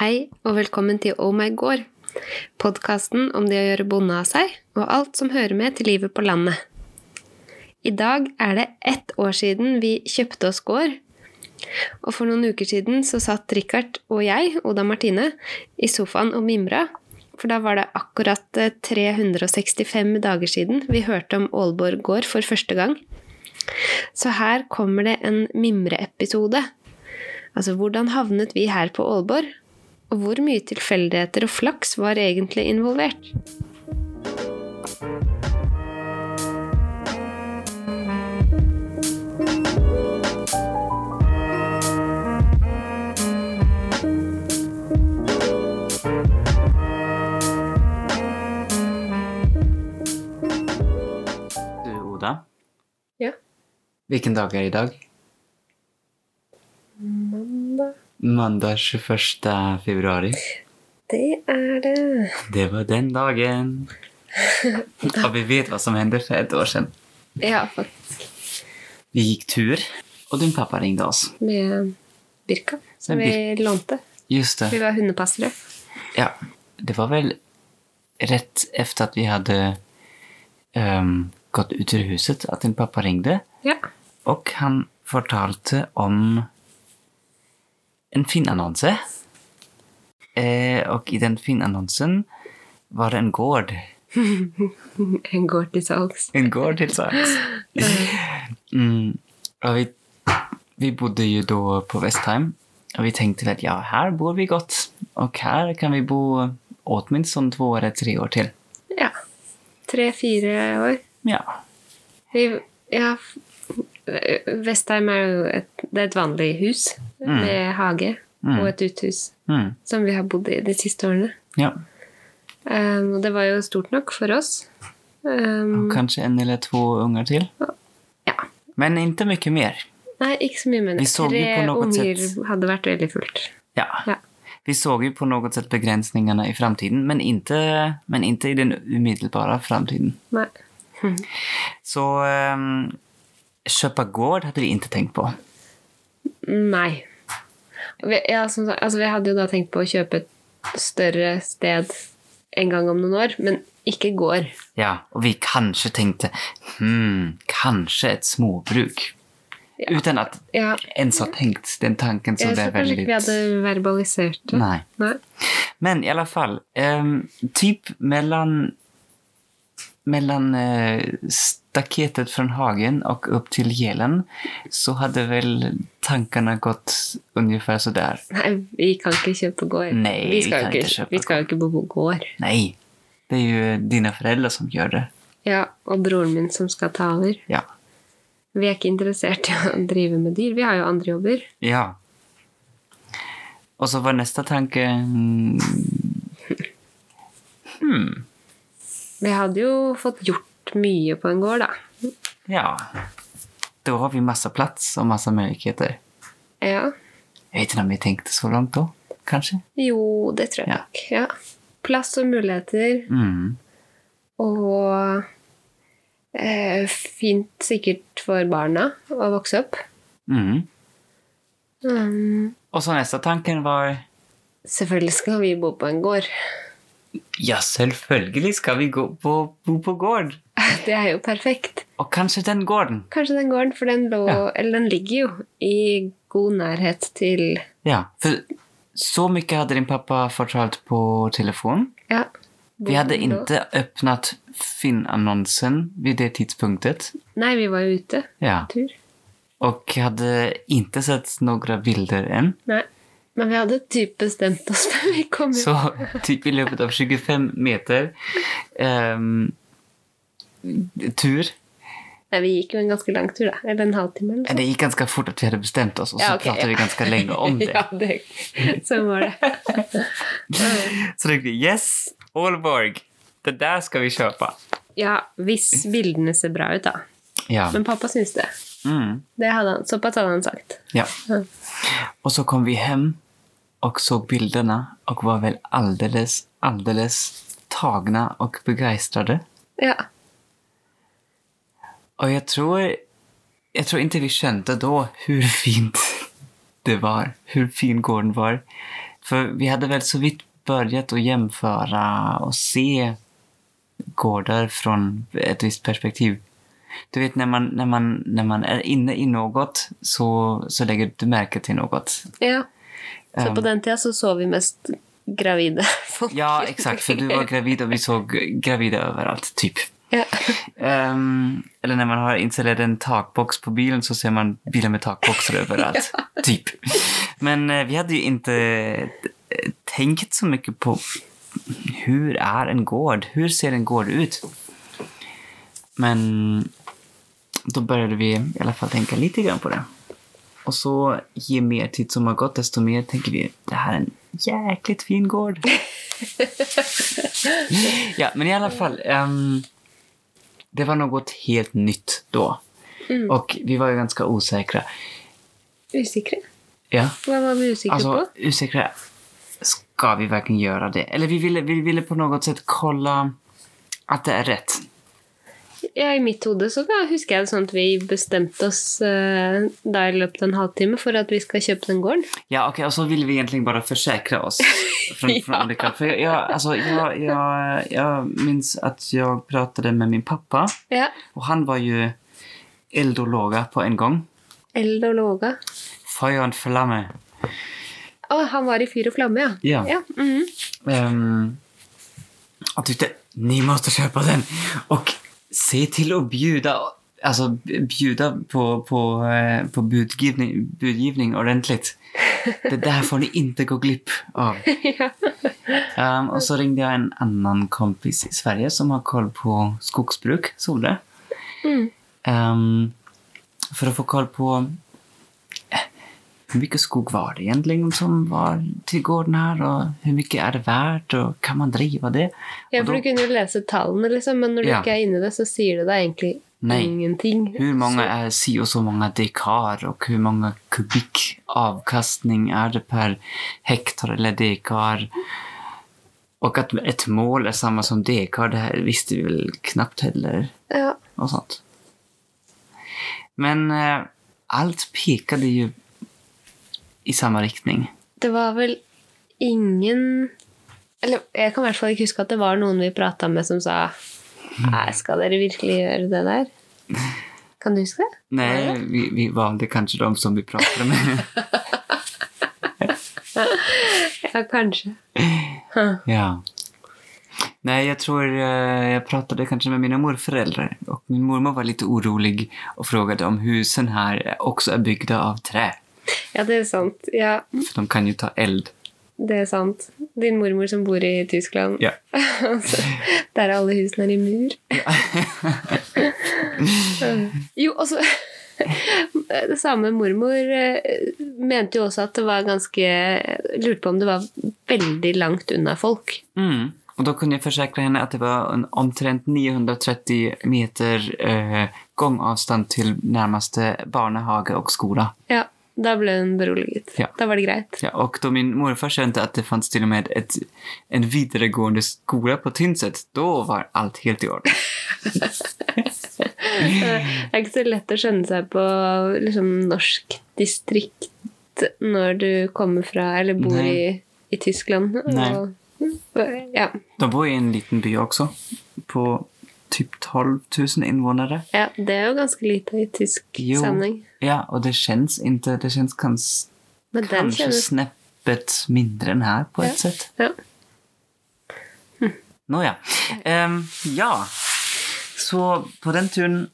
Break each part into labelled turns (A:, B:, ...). A: Hei og velkommen til Oh my gård, podkasten om det å gjøre bonde av seg og alt som hører med til livet på landet. I dag er det ett år siden vi kjøpte oss gård, og for noen uker siden så satt Richard og jeg, Oda Martine, i sofaen og mimra, for da var det akkurat eh, 365 dager siden vi hørte om Aalborg gård for første gang. Så her kommer det en mimreepisode. Altså, hvordan havnet vi her på Aalborg? Og hvor mye tilfeldigheter og flaks var egentlig involvert?
B: Du, Oda?
A: Ja.
B: Hvilken dag er det i dag?
A: Mandag
B: Mandag 21. februari.
A: Det er det.
B: Det var den dagen. Og vi vet hva som hender for et år siden.
A: Ja, faktisk.
B: Vi gikk tur, og din pappa ringte oss.
A: Med Birka, som
B: Med
A: vi lånte.
B: Just
A: Vi
B: det.
A: var hundepassere.
B: Ja. Det var vel rett efter at vi hadde ehm, gått ut ur huset at din pappa ringte.
A: Ja.
B: Og han fortalte om en Finn-annonse. Eh, og i den Finn-annonsen var det en gård.
A: En gård til salgs.
B: En gård til salgs. Mm, og vi, vi bodde jo da på Vestheim, og vi tenkte vel ja, her bor vi godt. Og her kan vi bo åtminst sånn to eller tre år til.
A: Ja. Tre-fire år.
B: Ja.
A: Vi, ja. Vestheim er jo et, det er et vanlig hus med hage
B: Mm.
A: og et uthus
B: Mm,
A: som vi har bodd i de siste årene.
B: ja.
A: Um, og det var jo stort nok for oss. Um,
B: Og kanskje en eller to unger til.
A: Ja.
B: Men ikke mye mer.
A: Nei, ikke så mye, men
B: Vi så
A: tre
B: jo på noe
A: unger
B: sett.
A: hadde vært veldig fullt.
B: Ja.
A: Ja.
B: Vi såg ju på något sätt begränsningarna i framtiden, men inte, men inte i den omedelbara framtiden.
A: Nei.
B: Så ehm, köpa gård hade vi inte tänkt på.
A: Nei. Vi, ja, som sagt, altså, vi hadde jo da tenkt på å kjøpe et større sted en gang om noen år, men ikke gård.
B: Ja, och vi kanske tänkte, hmm, kanske ett småbruk.
A: Ja.
B: Utan att
A: Ja,
B: ens ha tänkt den tanken. Så
A: jeg
B: det
A: tror
B: är
A: kanskje ikke
B: väldigt...
A: vi hadde verbalisert det.
B: Nej. Men i alla fall, ehm, typ mellan, mellan eh, staketet från hagen och upp till gelen så hade väl tankarna gått ungefär sådär.
A: Nei, vi kan ikke kjøpe gård.
B: Nei,
A: vi skal,
B: vi kan
A: jo
B: ikke kjøpe
A: vi skal jo ikke bo på gård.
B: Nej, det är ju dina föräldrar som gör det.
A: Ja, og broren min som skal ta over.
B: Ja.
A: Vi er ikke interessert i å drive med dyr. Vi har jo andre jobber.
B: ja. Och så var nästa tanke... mm, Hmm,
A: Vi hadde jo fått gjort mye på en gård, da.
B: ja. Då har vi massa plats och massa möjligheter.
A: Ja.
B: Jag vet inte om vi tänkte så långt då, kanske?
A: Jo, det tror jeg
B: Ja.
A: nok. Ja. Plass og muligheter,
B: Mm.
A: og eh, fint sikkert for barna å vokse opp.
B: Mm.
A: Mm.
B: Och så nästa tanken var
A: Selvfølgelig skal vi bo på en gård.
B: Ja, selvfølgelig skal vi gå på, bo på gård.
A: Det er jo perfekt.
B: Og kanskje den gården.
A: Kanskje den gården, for den, lå,
B: Ja.
A: eller den ligger jo i god nærhet til
B: Ja, for så mye hadde din pappa fortalt på telefon.
A: ja,
B: Vi hadde
A: boden da.
B: ikke åpnet Finn-annonsen ved det tidspunktet.
A: Nei, vi var jo ute.
B: Ja.
A: Tur.
B: Og hadde ikke sett noen bilder enn.
A: Nei. Men vi hadde typ bestemt oss før vi kom hjem.
B: Så typ i løpet av 25 meter ehm, tur
A: Nei, vi gikk jo en ganske lang tur, da. Eller en halvtime. eller
B: Det gikk ganske fort at vi hadde bestemt oss, og så
A: Ja, ok,
B: pratet vi
A: ja.
B: ganske lenge om det.
A: Ja, det, sånn var det.
B: Så tenkte vi yes, Aalborg, det der skal vi kjøpe.
A: Ja, hvis bildene ser bra ut, da.
B: Ja.
A: Men pappa syns det.
B: Mm,
A: det hadde han, såpass hadde han sagt.
B: ja. Og så kom vi hjem og så bildene og var vel alldeles, alldeles tagna og begeistrade.
A: Ja.
B: Og jeg tror, jeg tror ikke vi skjønte da hvor fint det var, hvor fin gården var. För vi hade väl så vitt börjat att jämföra och se gårdar från ett visst perspektiv. Du vet, när man, när man, när man är inne i något så, så lägger du märke till något.
A: Ja. Så
B: Ehm.
A: på den tida så så vi mest gravide folk.
B: Ja, exakt. För du var gravid och vi såg gravida överallt, typ.
A: Ja.
B: Ehm, eller när man har installerat en takbox på bilen så ser man bilar med takboxar överallt. Typ. Men eh, vi hade ju inte eh, tänkt så mycket på hur är en gård? Hur ser en gård ut? Men då började vi i alla fall tänka lite grann på det. Och så ju mer tid som har gått desto mer tänker vi det här är en jäkligt fin gård. ja, men i alla fall. ehm, det var något helt nytt då.
A: Mm.
B: Och vi var ju ganska osäkra.
A: Usikre?
B: Ja,
A: Vad var vi usikre
B: alltså
A: på?
B: osäkra. Ska vi verkligen göra det? Eller vi ville, vi ville på något sätt kolla att det är rätt.
A: Ja, I mitt hode så ga- husker jeg det sånn at vi bestemte oss eh, da i løpet av en halvtime for at vi skal kjøpe den gården.
B: Ja, okej, och så ville vi egentligen bara försäkra oss. Från, från
A: Ja.
B: olika, för jag, jag, alltså, jag, jag, jag minns att jag pratade med min pappa
A: Ja.
B: och han var ju eld och låga på en gång.
A: Eld og låga.
B: Feuer und Flamme.
A: Å, han var i fyr og flamme, ja.
B: Ja.
A: ja. mhm.
B: Ehm, och tyckte ni måste köpa den och se till att bjuda alltså bjuda på, på, eh, på budgivning, budgivning ordentligt. Det där får ni inte gå glipp av.
A: ja.
B: Ehm, och så ringde jag en annan kompis i Sverige som har koll på skogsbruk, såg det.
A: Mm.
B: Ehm, för att få koll på eh, hur mycket skog var det egentligen som var till gården här och hur mycket är det värt och kan man driva det?
A: ja,
B: Och
A: for
B: då,
A: du kunne jo lese tallene, liksom, men når du
B: Ja.
A: ikke er inni det, så sier det deg egentlig
B: Nei.
A: ingenting.
B: hur många är si och så många dekar och hur många kubik avkastning är det per hektar eller dekar? Och att ett mål är samma som dekar, det här visste vi väl knappt heller.
A: Ja.
B: och sånt. Men eh, allt pekade ju i samma riktning.
A: Det var vel ingen Eller jeg kan i hvert fall ikke huske at det var noen vi prata med som sa Nei, skal dere virkelig gjøre det der? Kan du huske det?
B: Nej, vi, vi valde kanske de som vi pratade med.
A: Ja, kanskje. Huh.
B: ja. Nej, jag tror eh, jag pratade kanske med mina morföräldrar och min mormor var lite orolig och frågade om husen här också är byggda av trä.
A: Ja, det er sant. Ja,
B: För de kan ju ta eld.
A: det er sant. Din mormor som bor i Tyskland.
B: Ja.
A: Altså, Der alle husene er i mur. jo, og så Det samme mormor eh, mente jo også at det var ganske Lurte på om det var veldig langt unna folk.
B: Mm. Och då kunde jag försäkra henne att det var en omtrent 930 meter eh, gångavstånd till närmaste barnehage och skola.
A: Ja, da ble hun beroliget.
B: Ja.
A: Da var det greit.
B: Ja, och då min morfar kände att det fanns till och med ett, en vidaregående skola på Tynset, då var allt helt i ordning.
A: Det er ikke så lett å skjønne seg på liksom, norsk distrikt når du kommer fra eller bor i,
B: Nei.
A: i Tyskland.
B: Nei.
A: Og, ja,
B: De bor i en liten by också, på typ 12 000 invånare.
A: ja, det er jo ganske lite i tysk
B: Jo.
A: sammenheng.
B: Ja, och det känns inte, det känns kans,
A: Men den
B: kanske
A: kjennes
B: snäppet mindre än här på ett
A: Ja.
B: sätt.
A: ja.
B: Nåja. Ehm, ja. Så på den turen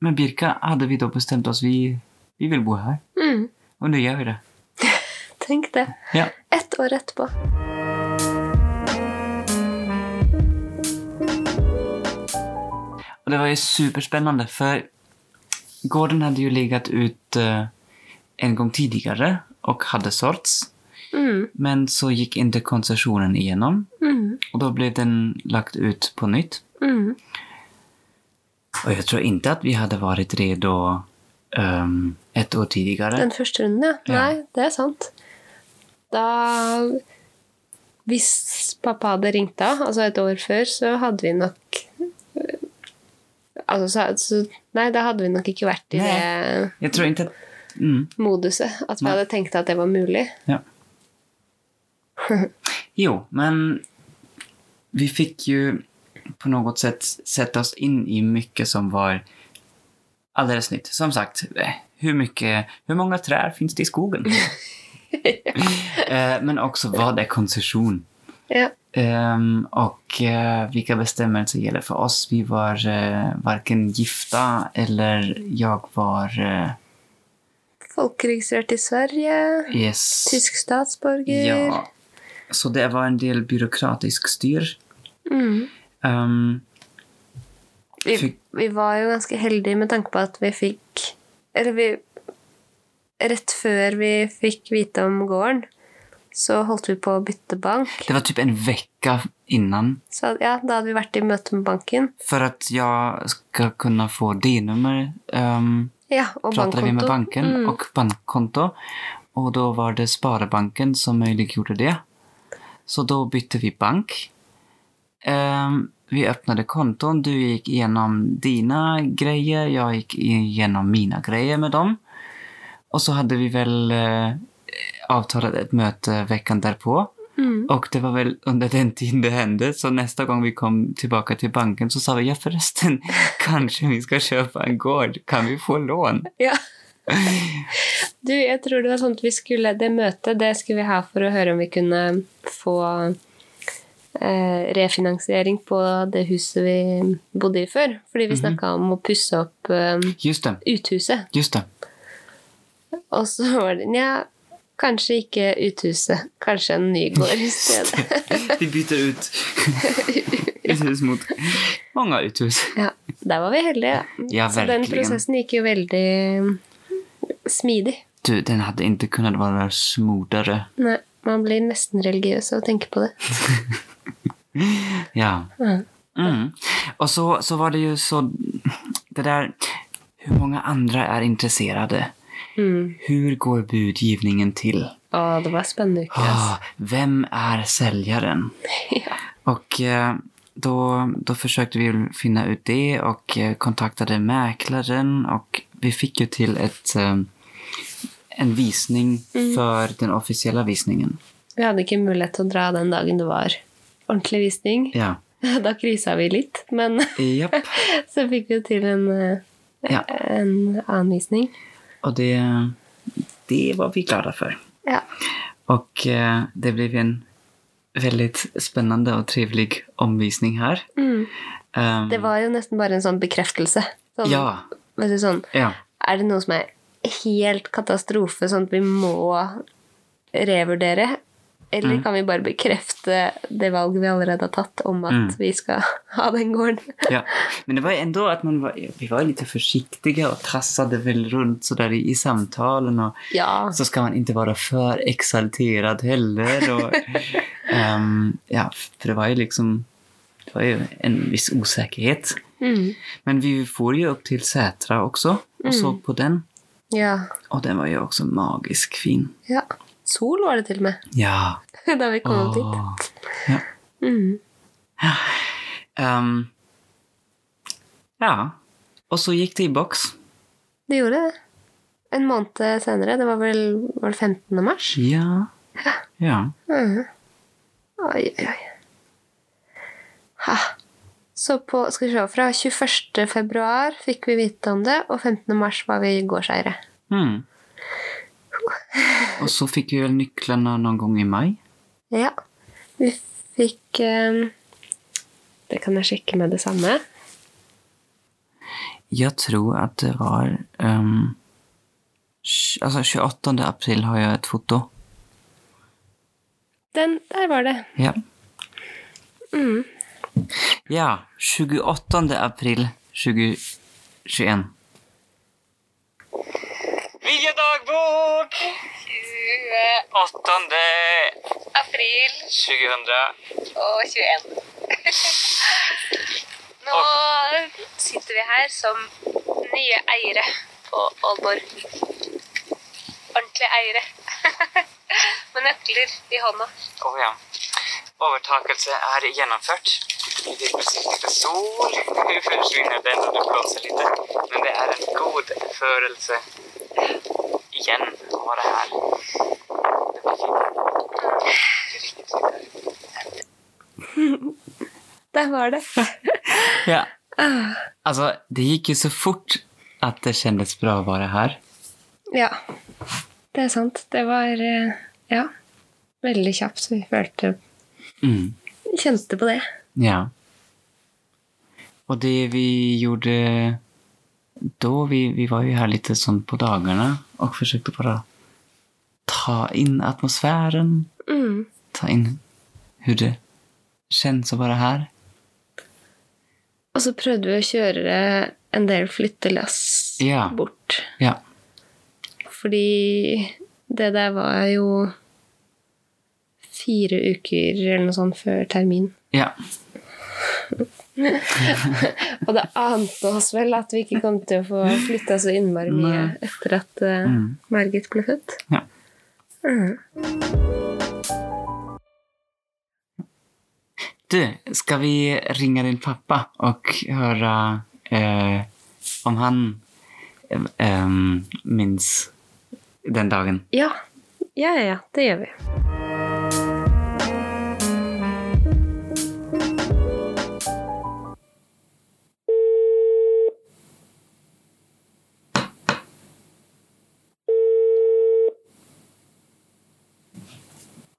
B: med Birka hade vi då bestämt oss, vi, vi vill bo här.
A: mm,
B: Och nu gör vi det.
A: Tenk det.
B: Ja.
A: Ett år etterpå.
B: Och det var ju superspännande för gården hade ju legat ut eh, en gång tidigare och hade sålts.
A: Mm,
B: Men så gick inte koncessionen igenom
A: mm,
B: och då blev den lagt ut på nytt.
A: mm.
B: Och jag tror inte att vi hade varit redo ehm, ett år tidigare.
A: Den første runden, ja.
B: Ja.
A: Nei, det er sant. Da Hvis pappa hadde ringt da, altså et år før, så hadde vi nok øh, Altså, så, så Nei, da hadde vi nok ikke vært i
B: Nei.
A: det
B: Jag tror inte att... Mm,
A: moduset. At vi
B: Nei.
A: hadde tenkt at det var mulig.
B: ja. Jo, men vi fick ju på något sätt sätta oss in i mycket som var alldeles nytt. Som sagt, eh, hur, mycket, hur många träd finns det i skogen? Eh, Men också vad är koncession?
A: ja.
B: Ehm, och eh, vilka bestämmelser gäller för oss? Vi var eh, varken gifta eller jag var... eh,
A: Folkregistrert i Sverige.
B: yes.
A: Tysk statsborger.
B: Ja. Så det var en del byråkratisk styr.
A: Mm.
B: Ehm,
A: Vi,
B: Fick-
A: vi var jo ganske heldige med tanke på at vi fikk Eller vi Rett før vi fikk vite om gården, så holdt vi på å bytte bank.
B: det var typ en vecka innan
A: Så ja, da hadde vi vært i møte med banken.
B: för att jag ska kunna få D-nummer. ehm,
A: Ja, og
B: pratade vi med
A: bankkonto.
B: banken
A: Mm.
B: och bankkonto. Och då var det Sparbanken som möjliggjorde det. Så då bytte vi bank. Ehm, vi öppnade konton. Du gick igenom dina grejer. Jag gick igenom mina grejer med dem. Och så hade vi väl eh, avtalat ett möte veckan därpå.
A: Mm.
B: Och det var väl under den tiden det hände. Så nästa gång vi kom tillbaka till banken så sa vi ja förresten, kanske vi ska köpa en gård. Kan vi få lån?
A: Ja. Du, jeg tror det var sånn at vi skulle Det møtet det skulle vi ha for å høre om vi kunne få eh, refinansiering på det huset vi bodde i før. Fordi
B: Mhm.
A: vi snakka om å pusse opp eh,
B: Just det.
A: uthuset.
B: Just det.
A: Og så var det Nja, kanskje ikke uthuset. Kanskje en ny gård i stedet.
B: Vi byter ut uthus mot många uthus.
A: Ja, der var vi heldige, da.
B: Ja,
A: så den
B: verkligen.
A: prosessen gikk jo veldig mm, smidig.
B: Du, den hade inte kunnat vara smordare.
A: Nei, man blir nesten religiøs av å tenke på det.
B: Ja.
A: Ja.
B: Mm. Och så, så var det ju så... Det där... Hur många andra är intresserade?
A: Mm.
B: Hur går budgivningen till?
A: Å, det var en spennende uke. ass.
B: Ah, vem är säljaren?
A: Ja.
B: Och eh, då, då försökte vi finna ut det och eh, kontaktade mäklaren och vi fick ju till ett, eh, en visning för den officiella visningen.
A: Vi hadde ikke mulighet til å dra den dagen det var ordentlig visning.
B: Ja.
A: Da krisa vi litt, men
B: Japp.
A: så fikk vi til en, eh,
B: Ja.
A: en annen visning.
B: Och det, det var vi glada för.
A: Ja.
B: Och eh, det blev en väldigt spännande och trevlig omvisning här.
A: Mm.
B: Ehm,
A: Det var jo nesten bare en sånn bekreftelse. Sånn,
B: Ja,
A: vet du, sånn,
B: ja.
A: er det noe som er helt katastrofe, sånn at vi må revurdere? Eller
B: Mm.
A: kan vi bare bekrefte det valget vi allerede har tatt om at
B: Mm.
A: vi skal ha den gården?
B: Ja, men det var ändå att man var, vi var lite försiktiga och trassade väl runt sådär i, i samtalen och
A: Ja.
B: så ska man inte vara för exalterad heller. Och, ehm, ja, för det var ju liksom det var ju en viss osäkerhet.
A: Mm.
B: Men vi får ju upp till Sätra också och såg på den.
A: ja.
B: Och den var ju också magisk fin.
A: Ja. Sol var det til og med
B: Ja.
A: da vi kom opp dit.
B: Åh. Ja.
A: Mm.
B: Ehm, ja. Och så gick det i box.
A: Det gjorde det. En måned senere. Det var vel var det 15. mars?
B: Ja. Ja.
A: Mhm. Oi, oi, oi. Ha. Så på, skal vi se, fra 21. februar fikk vi vite om det, og 15. mars var vi i gårdseiere.
B: Mm. Och så fick vi väl nycklarna någon gång i maj.
A: Ja. Vi fikk eh, Det kan jeg sjekke med det samme.
B: Jag tror att det var... ehm, tj- alltså 28 april har jag ett foto.
A: Den, der var det.
B: Ja.
A: Mm.
B: ja, 28 april 2021. Vilja dagbok! 8
C: april
B: 2000.
C: og 21. Nå sitter vi her som nye eiere på Aalborg. Ordentlige eiere. Med nøkler i hånda.
B: Å ja. Overtakelse er gjennomført. Vi fikk besøk av sol. Nå forsvinner den og det blåser litt. Men det er en god følelse igjen å være her. Det var fint. Riktig
A: der var det.
B: Ja.
A: Ah,
B: Alltså, det gick ju så fort att det kändes bra att vara här.
A: ja. Det er sant. Det var eh, Ja. Veldig kjapt. Vi følte
B: Mm.
A: Kjente på det.
B: Ja. Och det vi gjorde då, vi, vi var ju här lite sånt sånn på dagarna och försökte bara ta in atmosfären,
A: Mm.
B: ta in hur det känns att vara här.
A: Og så prøvde vi å kjøre en del flyttelass
B: Ja.
A: bort.
B: Ja,
A: Fordi det der var jo fire uker eller noe sånt før termin.
B: ja,
A: Og det ante oss vel at vi ikke kom til å få flytta så innmari mye
B: Nei.
A: etter at eh,
B: Mm.
A: Margit ble født.
B: ja.
A: Mm.
B: Du, ska vi ringa din pappa och höra eh, om han eh, ehm, minns den dagen?
A: Ja. Ja, ja, ja. Det gjør vi.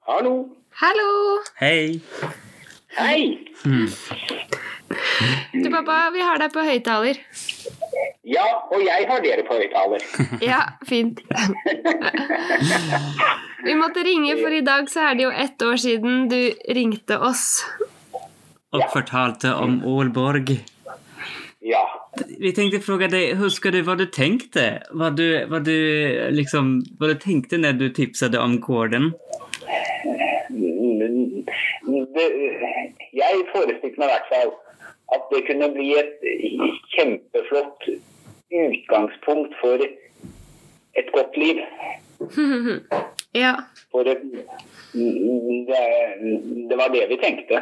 D: Hallo.
A: Hallo!
B: Hej!
D: Hei.
A: Du, pappa, vi har deg på høyttaler.
D: Ja, og jeg har dere på høyttaler.
A: Ja, fint. Vi måtte ringe, for i dag så er det jo ett år siden du ringte oss.
B: Och förtalte om Ålborg.
D: Ja.
B: Vi tänkte fråga dig, hur ska du, vad du tänkte? Vad du, vad du, liksom, vad du tänkte när du tipsade om gården?
D: Mm, Det, jeg forestilte meg i hvert fall at det kunne bli et kjempeflott utgangspunkt for et godt liv.
A: Ja.
D: For et, mm, det, det var det vi tenkte.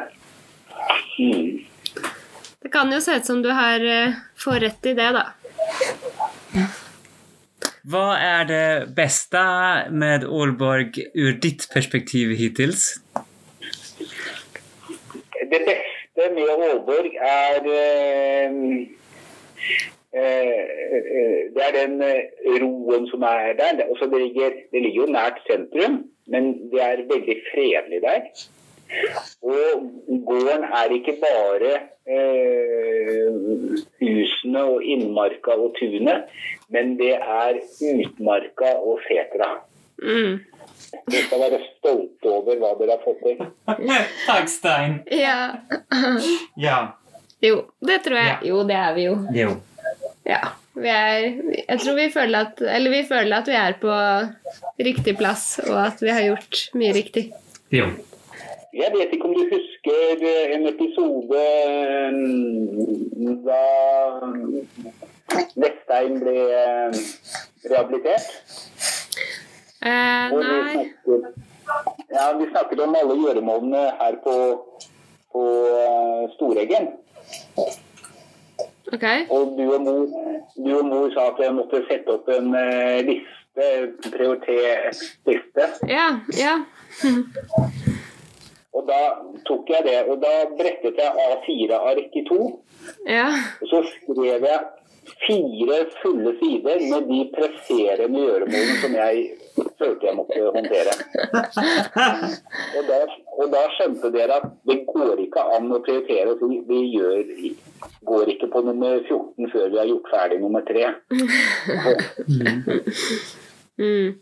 D: Mm.
A: Det kan jo se ut som du har eh, får rett i det, da.
E: Vad är det bästa med Ålborg ur ditt perspektiv hittills?
D: Det beste med Aalborg er eh, eh, eh, Det er den eh, roen som er der. Det- Også det, ligger, det ligger jo nært sentrum, men det er veldig fredelig der. Og gården er ikke bare eh, husene og innmarka og tunet, men det er utmarka og setra.
A: Mm.
D: Dere skal være stolte over hva dere har fått til.
E: Tack Stein!
A: Ja.
E: Ja.
A: Jo, det tror jeg. Jo, det er vi jo.
E: Jo.
A: Ja. Vi er Jeg tror vi føler at Eller vi føler at vi er på riktig plass, og at vi har gjort mye riktig.
E: Jo.
D: Jeg vet ikke om du husker eh, en episode eh, da Vestheim ble eh, rehabilitert?
A: Eh,
D: Og vi
A: nei
D: snakket- Ja, vi snakket om alle gjøremålene her på, på eh, Storeggen.
A: Ok.
D: Og du og, mor, du og mor sa at jeg måtte sette opp en eh, liste, prioritet-liste.
A: Ja. Ja.
D: Og da tok jeg det, og da brettet jeg A4-ark i to.
A: Ja.
D: Og så skrev jeg fire fulle sider med de presserende gjøremålene som jeg følte jeg måtte håndtere. Og da, og da skjønte dere at det går ikke an å prioritere. og si, Vi gjør, går ikke på nummer 14 før vi har gjort ferdig nummer 3.
A: Mm.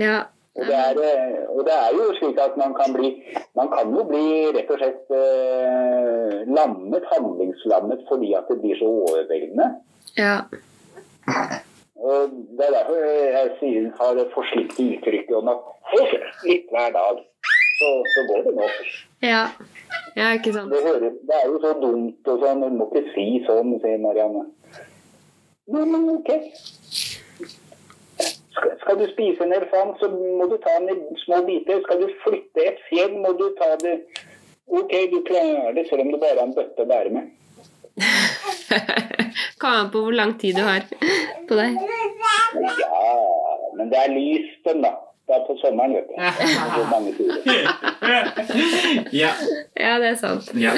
A: Ja.
D: Og det, er, eh, og det er jo slik at man kan bli Man kan jo bli rett og slett eh, lammet, handlingslammet, fordi at det blir så overveldende.
A: Ja.
D: Og Det er derfor jeg sier har det forsiktige uttrykket om at «Hei, litt hver dag, så, så går det nok.
A: Ja. Ja, ikke sant.
D: Det, hører, det er jo så dumt og sånn, du må ikke si sånn, sier Marianne. Nei, men ok. Skal, skal du spise en elefant, så må du ta den i små biter. Skal du flytte et fjell, må du ta det Ok, du klarer det selv om det bare er en bøtte å bære med.
A: Kommer an på hvor lang tid du har på deg.
D: Ja, men det er lyst den, da. Det er på sommeren, vet du. Det er så mange turer.
E: Ja.
A: Ja, det er sant.
B: Ja.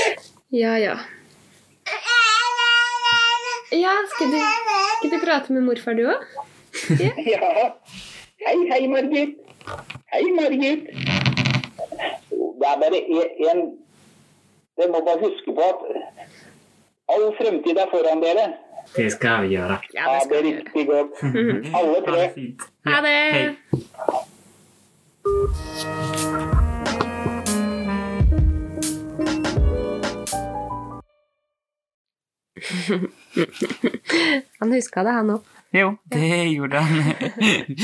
A: Ja, ja. Ja, skal du, skal du prate med morfar du òg?
D: Ja. Hei, hei, Margit. Hei, Margit. Det er bare én Dere må bare huske på at all fremtid er foran dere.
E: Det skal vi gjøre.
A: Ja,
D: Ha
A: det
D: det
A: skal Mhm. vi gjøre.
D: riktig godt. Alle
E: Ha
D: tre.
E: det fint.
A: Ha det!
E: Hei.
A: Han huska det, han òg.
B: Jo, det gjorde han.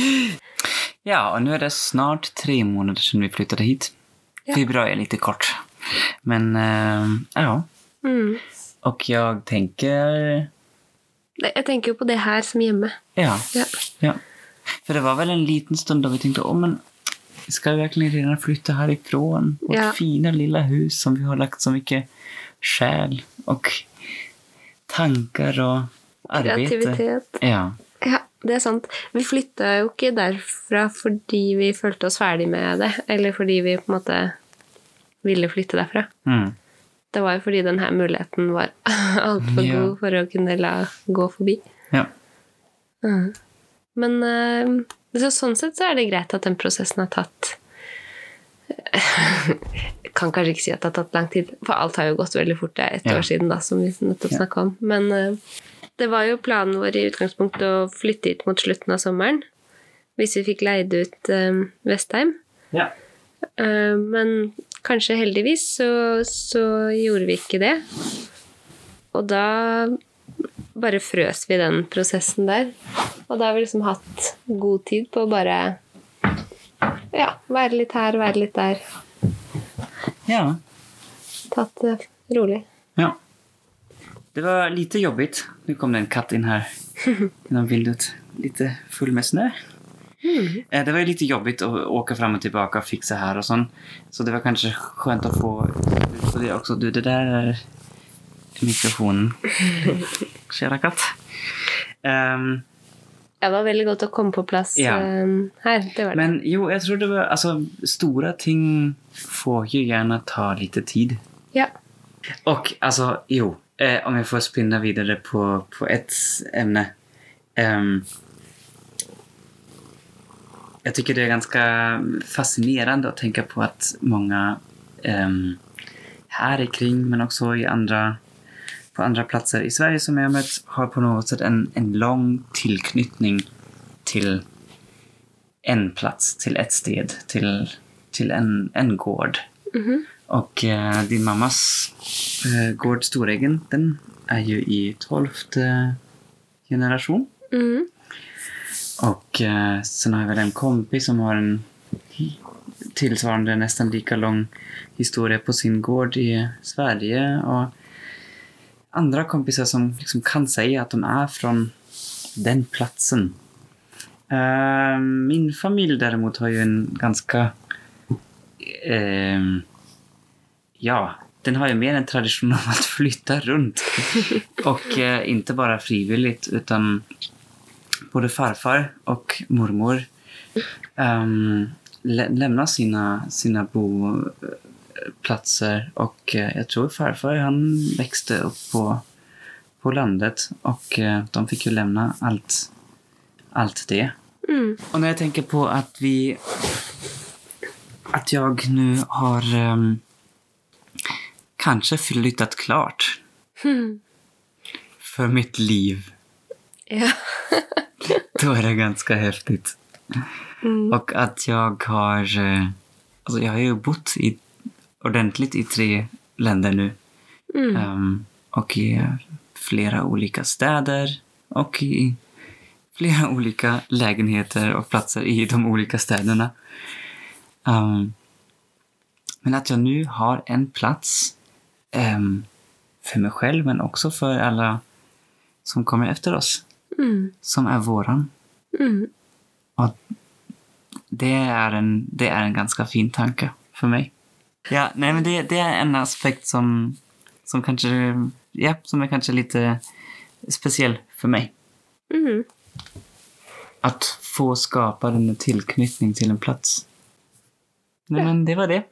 B: ja, och nu är det snart tre månader sedan vi flyttade hit.
A: Ja.
B: Februari är lite kort. Men eh, ja,
A: Mm.
B: och jag tänker...
A: Det- Jeg tenker jo på det her som hjemme.
B: Ja,
A: Ja.
B: ja. För det var väl en liten stund då vi tänkte, åh men ska vi verkligen redan flytta härifrån? Vårt
A: Ja.
B: fina lilla hus som vi har lagt så mycket själ och tankar och arbete.
A: Kreativitet.
B: Ja,
A: Ja, det er sant. Vi flytta jo ikke derfra fordi vi følte oss ferdig med det, eller fordi vi på en måte ville flytte derfra.
B: mm.
A: Det var jo fordi denne muligheten var altfor
B: Ja.
A: god for å kunne la gå forbi.
B: ja.
A: Mhm. Men eh, så sånn sett så er det greit at den prosessen har tatt Jeg kan kanskje ikke si at det har tatt lang tid, for alt har jo gått veldig fort. Det er ett
B: Ja.
A: år siden, da, som vi nettopp snakka om. Men eh, det var jo planen vår i utgangspunktet å flytte hit mot slutten av sommeren. Hvis vi fikk leid ut eh, Vestheim.
E: Ja.
A: Eh, men kanskje heldigvis så, så gjorde vi ikke det. Og da bare frøs vi den prosessen der. Og da har vi liksom hatt god tid på å bare ja, være litt her, være litt der.
B: ja.
A: Tatt det rolig.
B: Ja. Det var lite jobbigt. Nu kom det en katt in här genom vildet. Lite full med snö. Eh, Det var ju lite jobbigt att åka fram och tillbaka och fixa här och sånt. sånn. Så det var kanske skönt att få ut på det också. Du, det där är mikrofonen. Kära katt. Ehm,
A: Ja, det var veldig godt å komme på plass
B: Ja.
A: eh, her. Det var det.
B: men jo, jag tror det var... Alltså, stora ting får ju gärna ta lite tid.
A: Ja.
B: Och alltså, altså, jo. Eh, om jag får spinna vidare på, på ett ämne. Ehm, jag tycker det är ganska fascinerande att tänka på att många ehm, här i kring men också i andra, på andra platser i Sverige som jag har mött har på något sätt en, en lång tillknytning till en plats, till ett sted, till, till en, en gård. Och eh, din mammas eh, gård Storeggen, den är ju i tolfte generation.
A: Mhm.
B: Och eh, sen har jag väl en kompis som har en tillsvarande nästan lika lång historia på sin gård i Sverige. Och andra kompisar som liksom kan säga att de är från den platsen. Eh, min familj däremot har ju en ganska... ehm, ja, den har ju mer en tradition av att flytta runt. Och eh, inte bara frivilligt, utan både farfar och mormor ehm, lä- lämnar sina, sina boplatser. Och eh, jag tror farfar han växte upp på, på landet och eh, de fick ju lämna allt, allt det.
A: Mm.
B: Och när jag tänker på att vi... Att jag nu har ehm, kanske flyttat klart
A: Hmm.
B: för mitt liv.
A: Ja.
B: Då är det ganska häftigt.
A: Mm.
B: Och att jag har... eh, Alltså jag har ju bott i, ordentligt i tre länder nu.
A: Mm.
B: Ehm, och i flera olika städer och i flera olika lägenheter och platser i de olika städerna. Ehm, men att jag nu har en plats ehm, för mig själv men också för alla som kommer efter oss,
A: Mm.
B: som är våran.
A: Mm.
B: Det är en, det är en ganska fin tanke för mig. Ja, nej, men det, det är en aspekt som, som kanske ja, som är kanske lite speciell för mig.
A: Mm.
B: Att få skapa den där tillknytning till en plats. Nej, men det var det.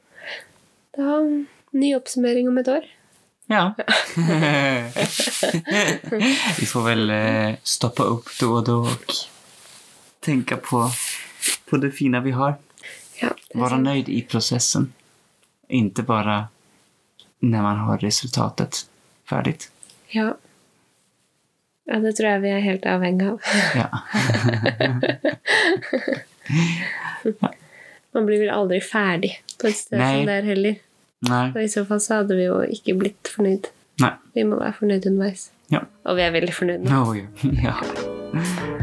A: Det var ny oppsummering om et år.
B: Ja. Vi får väl eh, stoppa upp då och då och tänka på, på det fina vi har.
A: Ja, det er
B: Vara
A: sant.
B: nöjd i processen. Inte bara när man har resultatet färdigt.
A: ja. ja, det tror jeg vi er helt avhengig av.
B: Ja.
A: Man blir vel aldri ferdig på et sted
B: Nei.
A: som det er heller.
B: Nej.
A: Og I så fall så hadde vi jo ikke blitt fornøyd.
B: Nej.
A: Vi må være fornøyd underveis.
B: Ja.
A: Og vi er veldig fornøyd nå.
B: No, ja.